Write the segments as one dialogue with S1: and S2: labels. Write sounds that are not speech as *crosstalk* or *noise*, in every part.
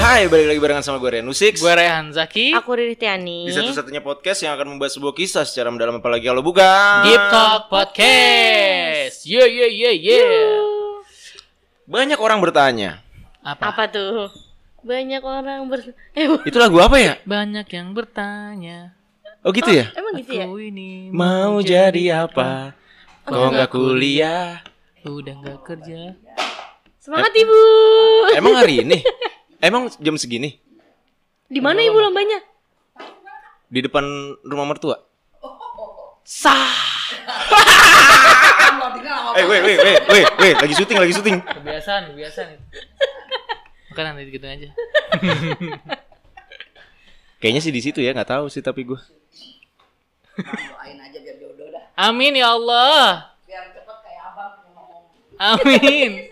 S1: Hai, balik lagi barengan sama gue Renu Six
S2: Gue Rehan Zaki
S3: Aku Riri Tiani.
S1: Di satu-satunya podcast yang akan membahas sebuah kisah secara mendalam apalagi kalau bukan
S2: Deep Talk Podcast Yeah yeah yeah yeah
S3: Iya.
S1: Banyak orang bertanya
S2: Apa?
S3: Apa tuh? Banyak orang ber Eh,
S1: Itu lagu apa ya?
S2: Banyak yang bertanya
S1: Oh gitu ya?
S3: emang gitu ya?
S2: Aku ini
S1: Mau jadi apa? Kok nggak kuliah?
S2: Udah gak kerja
S3: Semangat Ibu.
S1: Emang hari ini? Emang jam segini?
S3: Di mana Ibu lombanya?
S1: Di depan rumah mertua?
S2: Sah
S1: Eh, weh, weh, weh, weh, weh, lagi syuting, lagi syuting
S2: Kebiasaan Kebiasaan itu *laughs* Makan nanti gitu aja
S1: Kayaknya sih di situ ya, nggak tahu sih tapi gue
S2: Amin ya Allah Biar cepet kayak abang
S3: *laughs*
S2: Amin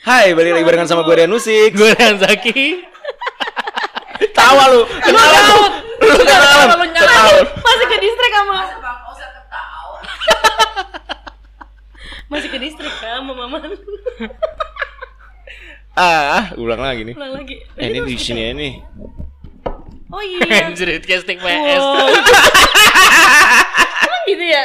S1: Hai, balik lagi barengan sama gue Renu Six
S2: Gue Rehan Zaki
S1: Tawa lu, kenapa lu? Lu kenapa?
S2: Lu *laughs* nyala.
S3: Masih ke distrik sama *laughs* Masih ke distrik sama Mama.
S1: Ah, ulang lagi nih
S3: Pulang lagi.
S1: Eh, ini di sini ya nih
S3: Oh iya.
S2: Anjir, itu casting PS
S3: Wow. Emang gitu ya?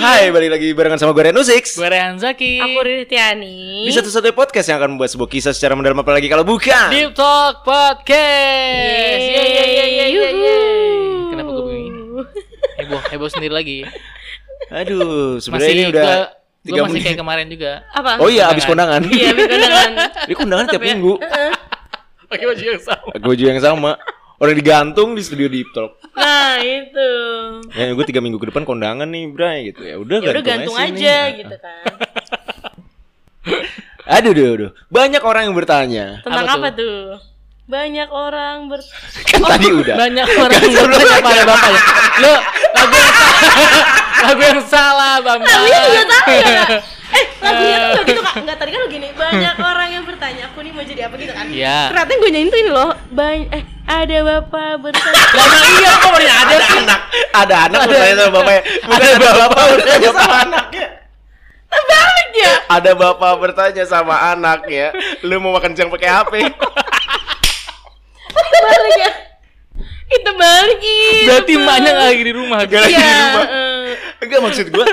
S1: Hai, balik lagi barengan sama gue Renu Six
S2: Gue Rehan Zaki
S3: Aku Riri Tiani.
S1: Di satu-satunya podcast yang akan membahas sebuah kisah secara mendalam apalagi kalau bukan
S2: Deep Talk Podcast.
S3: Yeay.
S2: Yeay yeay yeay
S3: iya,
S2: yeay. yeay.
S3: Yuhu.
S2: Kenapa gue begini? Heboh, heboh sendiri lagi.
S1: Aduh, sebenarnya
S2: Masih
S1: ini udah
S2: gua- gua
S1: tiga
S2: masih
S1: menit.
S2: kayak kemarin juga.
S3: Apa?
S1: Oh iya, abis kondangan
S3: Iya,
S1: *laughs*
S3: habis kondangan.
S1: Ini kondangan tiap
S3: Tetep ya.
S1: minggu
S2: Pakai baju yang sama.
S1: Gue juga yang sama Orang digantung di studio Deep Talk
S3: Nah, itu.
S1: Ya gue tiga minggu ke depan kondangan nih Bray gitu ya udah
S3: Ya udah gantung aja gitu kan.
S1: Aduh aduh aduh Banyak orang yang bertanya
S3: Tentang
S2: Apa
S3: apa, tuh? Banyak orang ber *laughs*
S1: Kan tadi udah Kan
S2: Banyak orang yang bertanya pada bapak ya. Lo lagu yang salah. *laughs* lagu yang salah, Bang.
S3: Lagunya juga Nah, tahu ya Kak? *laughs* Eh lagunya tuh nggak *laughs* gitu kak Nggak tadi kan lo gini Banyak orang yang bertanya Aku nih mau jadi apa gitu kan
S2: Iya.
S3: Ternyata gue nyanyi tuh ini loh Banyak Eh ada bapak bertanya *laughs*
S2: Lah emang iya kok baru ada
S1: Ada
S2: sih.
S1: anak Ada anak bertanya sama bapaknya Bukan
S2: Ada
S1: ada bapak
S2: bapak
S1: bertanya sama anaknya
S3: Terbalik ya
S1: Ada bapak bertanya sama anaknya Lu mau makan siang pakai HP
S3: Terbalik ya Itu balik itu
S2: Berarti
S3: balik.
S2: emaknya nggak lagi di rumah.
S3: *laughs*
S1: Gak lagi di
S3: Iya
S1: rumah
S3: eh.
S1: Enggak maksud gua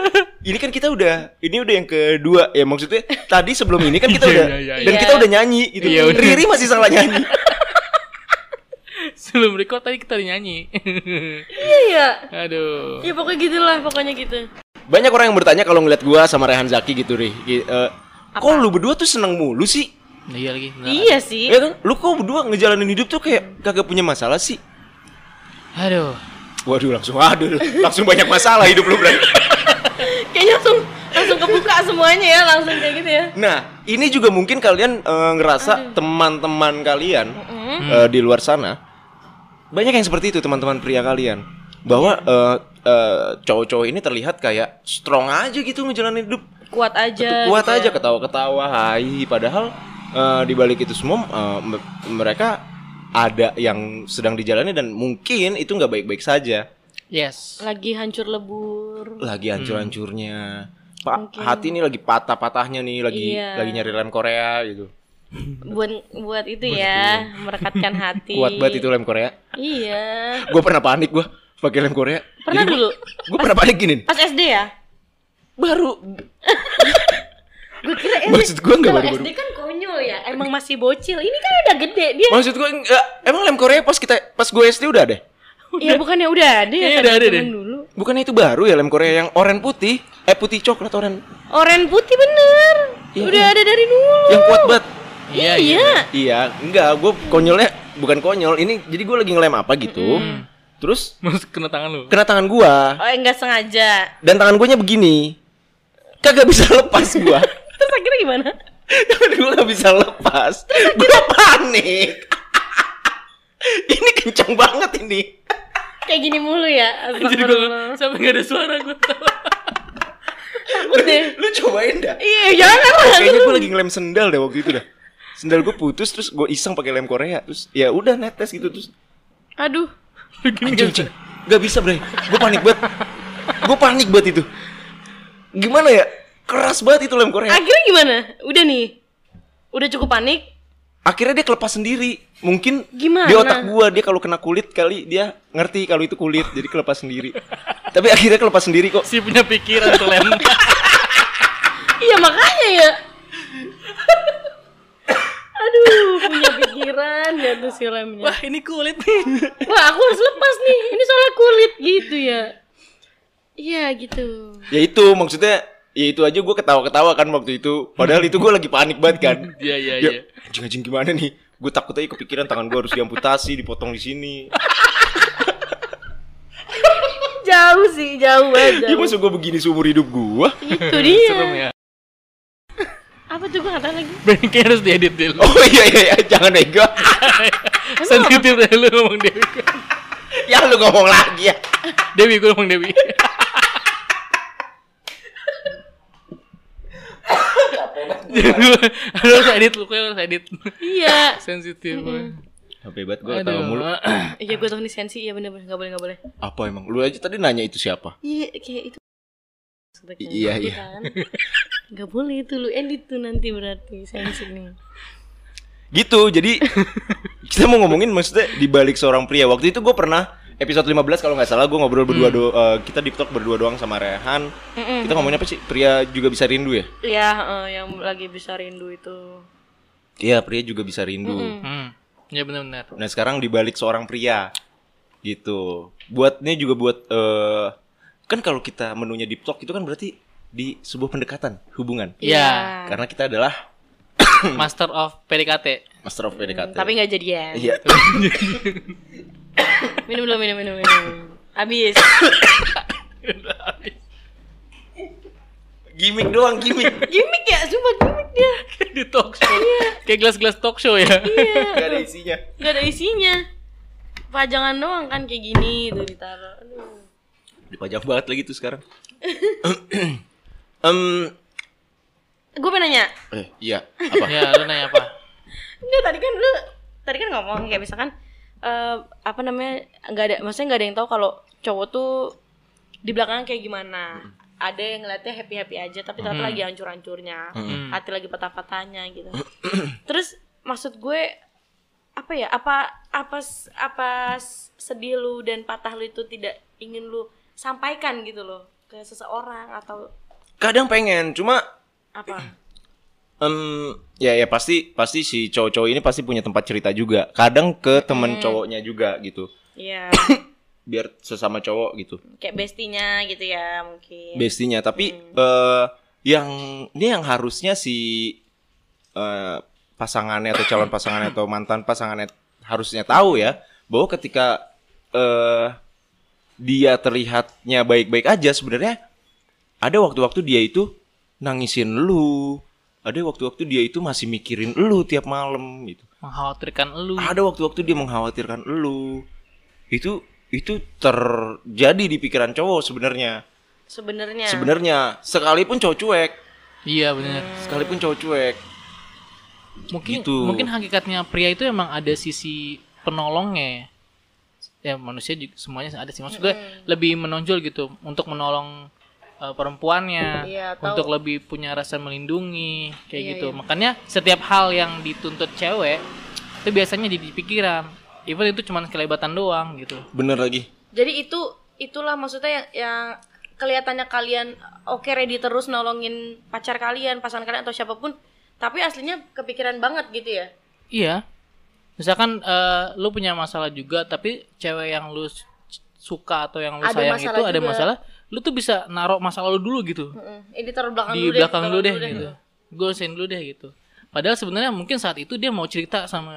S1: Ini kan kita udah Ini udah yang kedua Ya maksudnya Tadi sebelum ini kan kita
S2: Iya,
S1: udah
S2: iya, iya,
S1: Dan
S3: iya.
S1: kita udah nyanyi gitu
S2: Iya, udah.
S1: Riri masih salah nyanyi
S2: Sebelum record tadi kita udah nyanyi. *laughs*
S3: Iya ya
S2: Aduh.
S3: Ya pokoknya gitu lah Pokoknya gitu
S1: Banyak orang yang bertanya kalau ngeliat gua sama Rehan Zaki gitu Ri Gi- eh, Kok lu berdua tuh seneng mulu sih?
S2: Nah, Iya lagi. beneran.
S3: Iya sih
S1: Ya kan? Lu kok berdua ngejalanin hidup tuh kayak kagak punya masalah sih?
S2: Aduh.
S1: Waduh langsung aduh Langsung banyak masalah hidup lu berarti
S3: Kayaknya langsung Langsung kebuka semuanya ya Langsung kayak gitu ya
S1: Nah ini juga mungkin kalian eh, ngerasa teman-teman kalian eh, di luar sana Banyak yang seperti itu teman-teman pria kalian Bahwa eh, eh, cowok-cowok ini terlihat kayak strong aja gitu ngejalanin hidup
S3: Kuat
S1: Tuh,
S3: aja gitu ya.
S1: kuat aja ketawa-ketawa hai padahal eh, di balik itu semua eh, me- mereka ada yang sedang dijalani dan mungkin itu nggak baik-baik saja
S2: Yes.
S3: Lagi hancur lebur
S1: lagi hancur-hancurnya pak hati ini lagi patah-patahnya nih lagi
S3: Iya.
S1: lagi nyari lem Korea gitu
S3: buat buat itu
S1: *laughs*
S3: ya merekatkan hati
S1: kuat banget itu lem Korea
S3: iya
S1: gue pernah panik gue pakai lem Korea
S3: pernah dulu
S1: gue pernah panik gini
S3: pas SD ya
S1: baru
S3: gue kira SD
S1: maksud gue nggak
S3: kalau
S1: baru baru
S3: SD kan konyol ya emang masih bocil ini kan udah gede dia
S1: maksud gue emang lem Korea pas kita pas gue SD Oh, udah deh
S3: ya bukannya udah ada ya
S2: Kayaknya
S3: tadi
S2: udah ada
S3: cuman
S2: deh.
S3: dulu
S1: bukannya itu baru ya lem Korea yang oranye putih eh putih coklat oranye
S3: oren putih bener
S1: Iya.
S3: udah ada dari dulu
S1: yang kuat banget
S2: Iya, iya.
S3: iya
S1: Iya, enggak, gue konyolnya bukan konyol. Ini jadi gue lagi ngelem apa gitu. Terus
S2: Masuk kena tangan lu.
S1: kena tangan gua
S3: oh enggak sengaja
S1: dan tangan gue begini. Kagak bisa lepas gua. *laughs*
S3: terus akhirnya gimana
S1: tangan gue gak bisa lepas. Gue panik. *laughs* ini kencang banget ini.
S3: kayak gini mulu ya
S2: Jadi gue
S3: Astagfirullah.
S2: sampai gak ada suara gue
S3: takut deh
S1: Lu cobain dah.
S3: iya jangan lah
S1: Kayaknya gue lagi ngelem sendal deh waktu itu dah. Sendal gue putus terus gue iseng pakai lem Korea terus ya udah netes gitu terus
S3: aduh
S1: Anjing, anjing. Gak bisa, Bray. Gue panik banget. Gue panik banget itu. Gimana ya? Keras banget itu lem Korea.
S3: akhirnya gimana udah nih udah cukup panik
S1: akhirnya dia kelepas sendiri mungkin
S3: Gimana?
S1: di otak gua dia kalau kena kulit kali dia ngerti kalau itu kulit jadi kelepas sendiri tapi akhirnya kelepas sendiri kok
S2: Si punya pikiran tuh Lem.
S3: Iya makanya ya. Aduh, punya pikiran ya tuh si lemnya.
S4: Wah, ini kulit nih.
S3: Wah, aku harus lepas nih. Ini soalnya kulit gitu ya. Iya gitu.
S1: ya itu maksudnya ya itu aja gua ketawa-ketawa kan waktu itu padahal itu gua lagi panik banget kan
S2: Iya, iya,
S1: ya
S2: iya.
S1: anjing-anjing gimana nih gue takut aja kepikiran tangan gua harus diamputasi dipotong di sini
S3: Jauh sih, jauh aja.
S1: ya maksud gua begini seumur hidup gua
S3: Itu Gitu
S2: *laughs*
S3: dia.
S2: Serem ya.
S3: Apa tuh gue kata lagi?
S2: Bener kayaknya harus diedit *laughs* deh lu.
S1: oh iya iya, iya jangan ego
S2: Sensitif deh lu ngomong Dewi.
S1: ya lu ngomong lagi ya
S2: Dewi gue ngomong *laughs* Dewi. Jadi gua harus edit lu, gue harus edit.
S3: Iya.
S2: Sensitif. gua.
S1: capek banget gua ketawa mulu
S3: Iya gue tahu nih sensi, iya bener-bener nggak boleh nggak boleh.
S1: apa emang lu aja tadi nanya itu siapa
S3: Iya kayak itu. Sebagai
S1: Iya,
S3: aku
S1: iya.
S3: kan. Nggak boleh itu lu edit tuh nanti berarti sensi nih.
S1: gitu jadi *laughs* kita mau ngomongin maksudnya di balik seorang pria waktu itu gue pernah episode 15 kalau nggak salah gue ngobrol
S2: Hmm.
S1: berdua do eh, kita di TikTok berdua doang sama Rehan kita ngomongin apa sih pria juga bisa rindu ya
S3: Iya, eh, yang lagi bisa rindu itu.
S1: iya pria juga bisa rindu
S2: *clears throat* Hmm. Ya benar-benar. *clears throat*
S1: nah sekarang di balik seorang pria gitu buatnya juga buat eh kan kalau kita menunya di TikTok itu kan berarti di sebuah pendekatan hubungan
S2: Iya.
S1: karena kita adalah
S2: Master of PDKT.
S1: master of pendekatan
S3: Hmm, Tapi nggak ya? jadian.
S1: ya. iya
S3: Minum dulu, minum, minum, minum. Abis.
S1: gimmick doang
S3: *laughs*
S1: gimmick
S3: gimmick ya, sumpah gimmick dia.
S2: *laughs* di talk show. Kayak gelas-gelas talk show ya.
S1: gak ada isinya
S3: Gak ada isinya. Pajangan doang kan kayak gini tuh ditaruh. Aduh.
S1: Dipajang banget lagi tuh
S3: *laughs*
S1: sekarang. Em,
S3: Gue pengen nanya.
S1: eh, iya, apa?
S2: Ya, lu nanya apa?
S3: Enggak, tadi kan lu tadi kan ngomong kayak misalkan eh, apa namanya? nggak ada maksudnya nggak ada yang tahu kalau cowok tuh di belakang kayak gimana. Ada yang ngeliatnya happy-happy aja tapi ternyata lagi hancur-hancurnya.
S2: Hmm.
S3: Hati lagi patah-patahnya gitu. Terus maksud gue apa ya apa apa s- apa s- sedih lu dan patah lu itu tidak ingin lu sampaikan gitu loh ke seseorang atau
S1: Kadang pengen, cuma
S3: apa
S1: em, ya ya pasti pasti si cowok-cowok ini pasti punya tempat cerita juga. Kadang ke
S3: Hmm.
S1: temen cowoknya juga gitu.
S3: ya
S1: Biar sesama cowok gitu.
S3: kayak bestinya gitu ya mungkin
S1: Bestinya, tapi eh, yang ini yang harusnya si eh, pasangannya atau calon pasangannya atau mantan pasangannya harusnya tahu ya bahwa ketika eh dia terlihatnya baik-baik aja sebenarnya ada waktu-waktu dia itu nangisin lu ada waktu-waktu dia itu masih mikirin lu tiap malam gitu
S2: Mengkhawatirkan lu.
S1: ada waktu-waktu dia mengkhawatirkan lu itu itu terjadi di pikiran cowok sebenarnya
S3: sebenarnya
S1: sebenarnya sekalipun cowok cuek
S2: Iya, benar.
S1: sekalipun cowok cuek
S2: Mungkin
S1: Gitu.
S2: mungkin hakikatnya pria itu emang ada sisi penolongnya. Ya, manusia juga semuanya ada sih. Maksud gue lebih menonjol gitu untuk menolong uh, perempuannya,
S3: Iya, tahu.
S2: untuk lebih punya rasa melindungi kayak
S3: Iya,
S2: gitu.
S3: iya.
S2: Makanya setiap hal yang dituntut cewek itu biasanya jadi di pikiran. Even itu cuma kelebatan doang gitu.
S1: bener lagi
S3: jadi itu itulah maksudnya yang, yang kelihatannya kalian oke ready terus nolongin pacar kalian pasangan kalian atau siapapun tapi aslinya kepikiran banget gitu ya
S2: Iya. Misalkan eh, lu punya masalah juga tapi cewek yang lu s- suka atau yang lu
S3: Ada
S2: sayang itu
S3: masalah
S2: ada
S3: juga.
S2: masalah, lu tuh bisa naruh masalah lu dulu gitu.
S3: Heeh. ini taruh belakang
S2: Di
S3: dulu deh, Iya,
S2: belakang
S3: taruh
S2: dulu deh, gitu. Gue usahain dulu deh gitu. Padahal sebenarnya mungkin saat itu dia mau cerita sama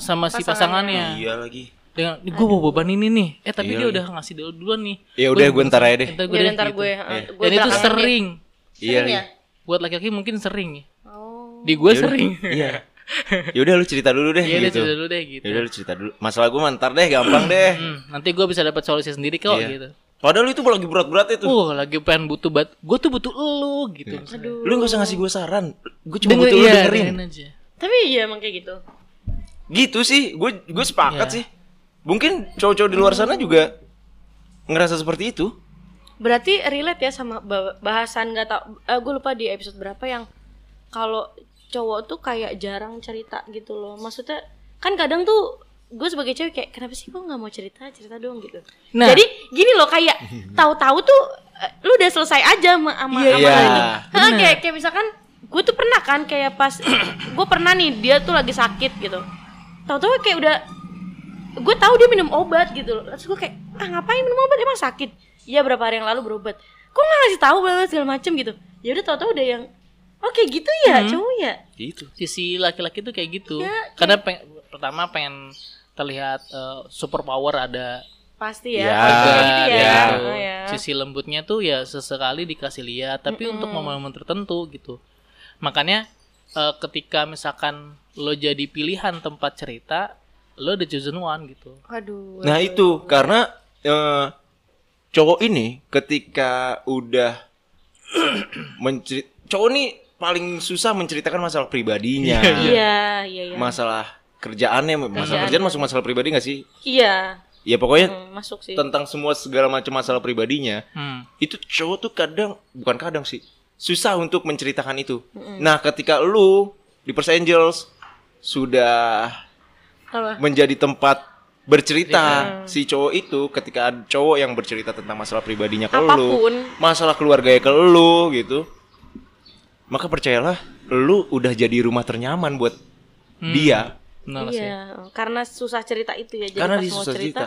S2: sama si pasangannya.
S1: iya lagi
S2: Dengan gue bawa beban ini nih. Eh tapi
S1: Iya,
S2: dia
S1: iya.
S2: udah ngasih dulu duluan nih.
S1: Ya udah, gua ntar aja deh.
S2: Ntar gue
S3: Yaudah,
S2: deh,
S3: ntar
S2: gitu.
S3: gue, eh, gue
S2: Dan itu
S3: belakangan deh.
S2: sering.
S1: iya
S3: Sering
S1: lagi.
S3: ya?
S2: Buat laki-laki mungkin sering.
S3: Oh.
S2: Di gue
S1: *laughs*
S2: sering.
S1: Iya. Ya udah lu cerita dulu deh
S2: Iya dia
S1: gitu.
S2: cerita dulu deh gitu.
S1: Ya udah lu cerita dulu. Masalah gue mantar deh, gampang deh.
S2: Hmm, nanti gue bisa dapat solusi sendiri kok
S1: Iya.
S2: gitu.
S1: Padahal itu lagi berat-berat itu.
S2: Uh, lagi pengen butuh bat, gue tuh butuh elu
S1: Iya.
S2: gitu. Aduh,
S1: Lu gak usah ngasih gue saran. Gue cuma butuh
S2: iya,
S1: lu dengerin.
S2: aja.
S3: Tapi iya emang kayak gitu.
S1: Gitu sih, gue gue sepakat sih. Mungkin cowok-cowok di luar sana juga ngerasa seperti itu.
S3: Berarti relate ya sama ba- bahasan nggak tau, eh, gue lupa di episode berapa yang kalau cowok tuh kayak jarang cerita gitu loh maksudnya kan kadang tuh gue sebagai cewek kayak kenapa sih gue nggak mau cerita cerita dong gitu
S2: Nah.
S3: jadi gini
S1: *laughs*
S3: loh kayak tahu-tahu tuh eh, lu udah selesai aja sama sama
S1: Iya,
S3: sama
S1: iya.
S3: lagi. Hah, kayak kayak misalkan gue tuh pernah kan kayak pas *clears throat* gue pernah nih dia tuh lagi sakit gitu tahu-tahu kayak udah gue tahu dia minum obat gitu loh terus gue kayak ah ngapain minum obat emang sakit iya berapa hari yang lalu berobat kok nggak ngasih tahu bla bla segala macem gitu ya udah tahu-tahu udah yang oke gitu ya
S1: Hmm.
S3: cowok ya
S1: Gitu.
S2: sisi laki-laki tuh kayak gitu
S3: Iya,
S2: karena peng- pertama pengen terlihat eh, super power ada
S3: pasti
S1: Ya,
S3: ya, Kayak gitu ya,
S1: ya.
S2: gitu.
S3: Oh, ya.
S2: sisi lembutnya tuh ya sesekali dikasih lihat tapi untuk momen-momen tertentu gitu makanya eh, ketika misalkan lo jadi pilihan tempat cerita lo the chosen one gitu
S3: Waduh.
S1: Nah itu karena eh, cowok ini ketika udah *clears throat* mencerit cowok ini paling susah menceritakan masalah pribadinya,
S3: Iya, iya, iya.
S1: masalah kerjaannya, masalah kerjaan masuk masalah pribadi nggak sih?
S3: Iya,
S1: Ya pokoknya
S3: hmm, masuk sih.
S1: tentang semua segala macam masalah pribadinya
S2: Hmm.
S1: itu cowok tuh kadang bukan kadang sih susah untuk menceritakan itu.
S3: Hmm.
S1: Nah ketika lu di Perth Angels sudah
S3: Apa?
S1: menjadi tempat bercerita
S3: Iya.
S1: si cowok itu ketika ada cowok yang bercerita tentang masalah pribadinya ke lu,
S3: Apapun.
S1: masalah keluarganya ke lu gitu. Maka percayalah, lu udah jadi rumah ternyaman buat
S3: Hmm.
S1: dia
S2: benar sih
S3: Iya, karena susah cerita itu ya. Jadi
S1: karena
S3: pas
S1: dia
S3: mau
S1: susah cerita.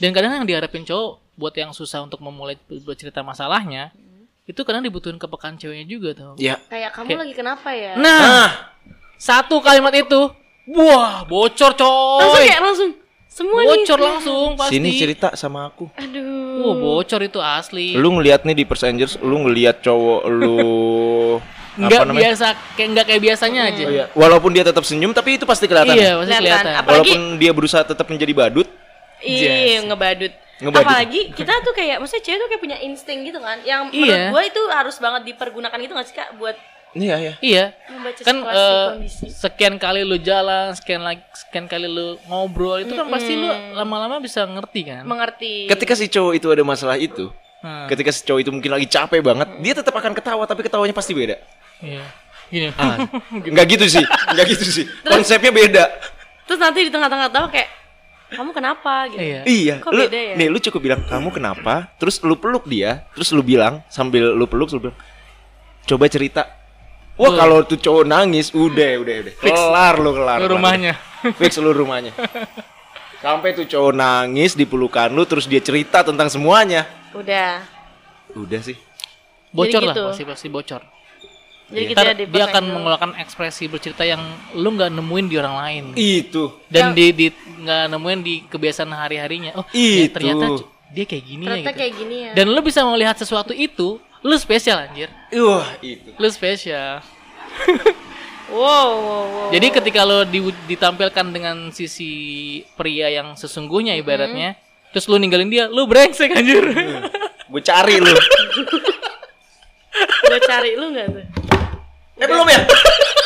S2: dan kadang yang diharapin cowok buat yang susah untuk memulai bercerita masalahnya itu kadang dibutuhin kepekaan ceweknya juga tuh
S1: Ya.
S3: Kayak kamu lagi kenapa ya?
S2: nah
S1: Ah,
S2: satu kalimat itu wah bocor
S3: langsung
S2: coy
S3: kayak langsung semua nih.
S2: bocor langsung pasti
S1: sini cerita sama aku.
S3: Aduh.
S2: Wah, bocor itu asli
S1: Lu ngeliat nih di Perth Angels, lu ngeliat cowok
S3: *laughs*
S1: lu
S2: nggak biasa kayak nggak kayak biasanya aja
S1: Oh, iya. Walaupun dia tetap senyum, tapi itu pasti kelihatan. ya?
S2: iya pasti
S3: Kelihatan.
S2: kelihatan
S3: Apa- Apalagi-
S1: Walaupun dia berusaha tetap menjadi badut,
S3: Iya, ngebadut.
S1: Ngebadut.
S3: Apalagi kita tuh kayak, maksudnya cewek tuh kayak punya insting gitu kan, yang menurut
S2: Iya.
S3: gue itu harus banget dipergunakan gitu gak sih kak buat
S1: iya ya.
S2: iya
S3: membaca
S2: kan
S3: situasi
S2: eh,
S3: kondisi.
S2: sekian kali lu jalan sekian lagi sekian kali lu ngobrol itu kan pasti lu lama-lama bisa ngerti kan
S3: Mengerti.
S1: Ketika si cowok itu ada masalah itu,
S2: Hmm.
S1: ketika si cowok itu mungkin lagi capek banget, dia tetap akan ketawa, tapi ketawanya pasti beda.
S2: iya gini
S1: Enggak gitu sih, enggak gitu sih. Konsepnya beda.
S3: Terus nanti di tengah-tengah tahu kayak kamu kenapa gitu.
S2: *laughs* iya
S1: Iya,
S3: Kok
S1: lu,
S3: beda ya?
S1: nih lu cukup bilang kamu kenapa, terus lu peluk dia, terus lu bilang sambil lu peluk, lu bilang, coba cerita. Wah kalau tuh cowok nangis, udah udah udah, kelar lu kelar.
S2: Lu
S1: kelar.
S2: rumahnya.
S1: *laughs* fix lu rumahnya. Sampai tuh cowok nangis di pelukan lu, terus dia cerita tentang semuanya.
S3: Udah.
S1: Udah sih.
S2: bocor lah
S3: gitu.
S2: pasti pasti bocor
S3: Jadi gitu ya,
S2: Iya. Ntar
S3: kita di
S2: dia akan
S3: persen-
S2: mengeluarkan ekspresi bercerita yang lu nggak nemuin di orang lain
S1: Itu.
S3: Ya.
S2: dan di di- nggak nemuin di kebiasaan hari-harinya oh ya
S1: Itu.
S2: ternyata c- dia kayak gini ya
S3: ternyata
S2: gitu
S3: kayak gini ya.
S2: dan lu bisa melihat sesuatu itu lu spesial anjir
S1: Wah, itu.
S2: lu spesial
S3: Wow, wow, wow.
S2: Jadi ketika lo di- ditampilkan dengan sisi pria yang sesungguhnya ibaratnya,
S3: Mm-hmm.
S2: terus lo ninggalin dia, lo brengsek anjir.
S3: Iya.
S1: Gue cari lu.
S3: Gue cari lu gak tuh?
S1: Eh belum ya?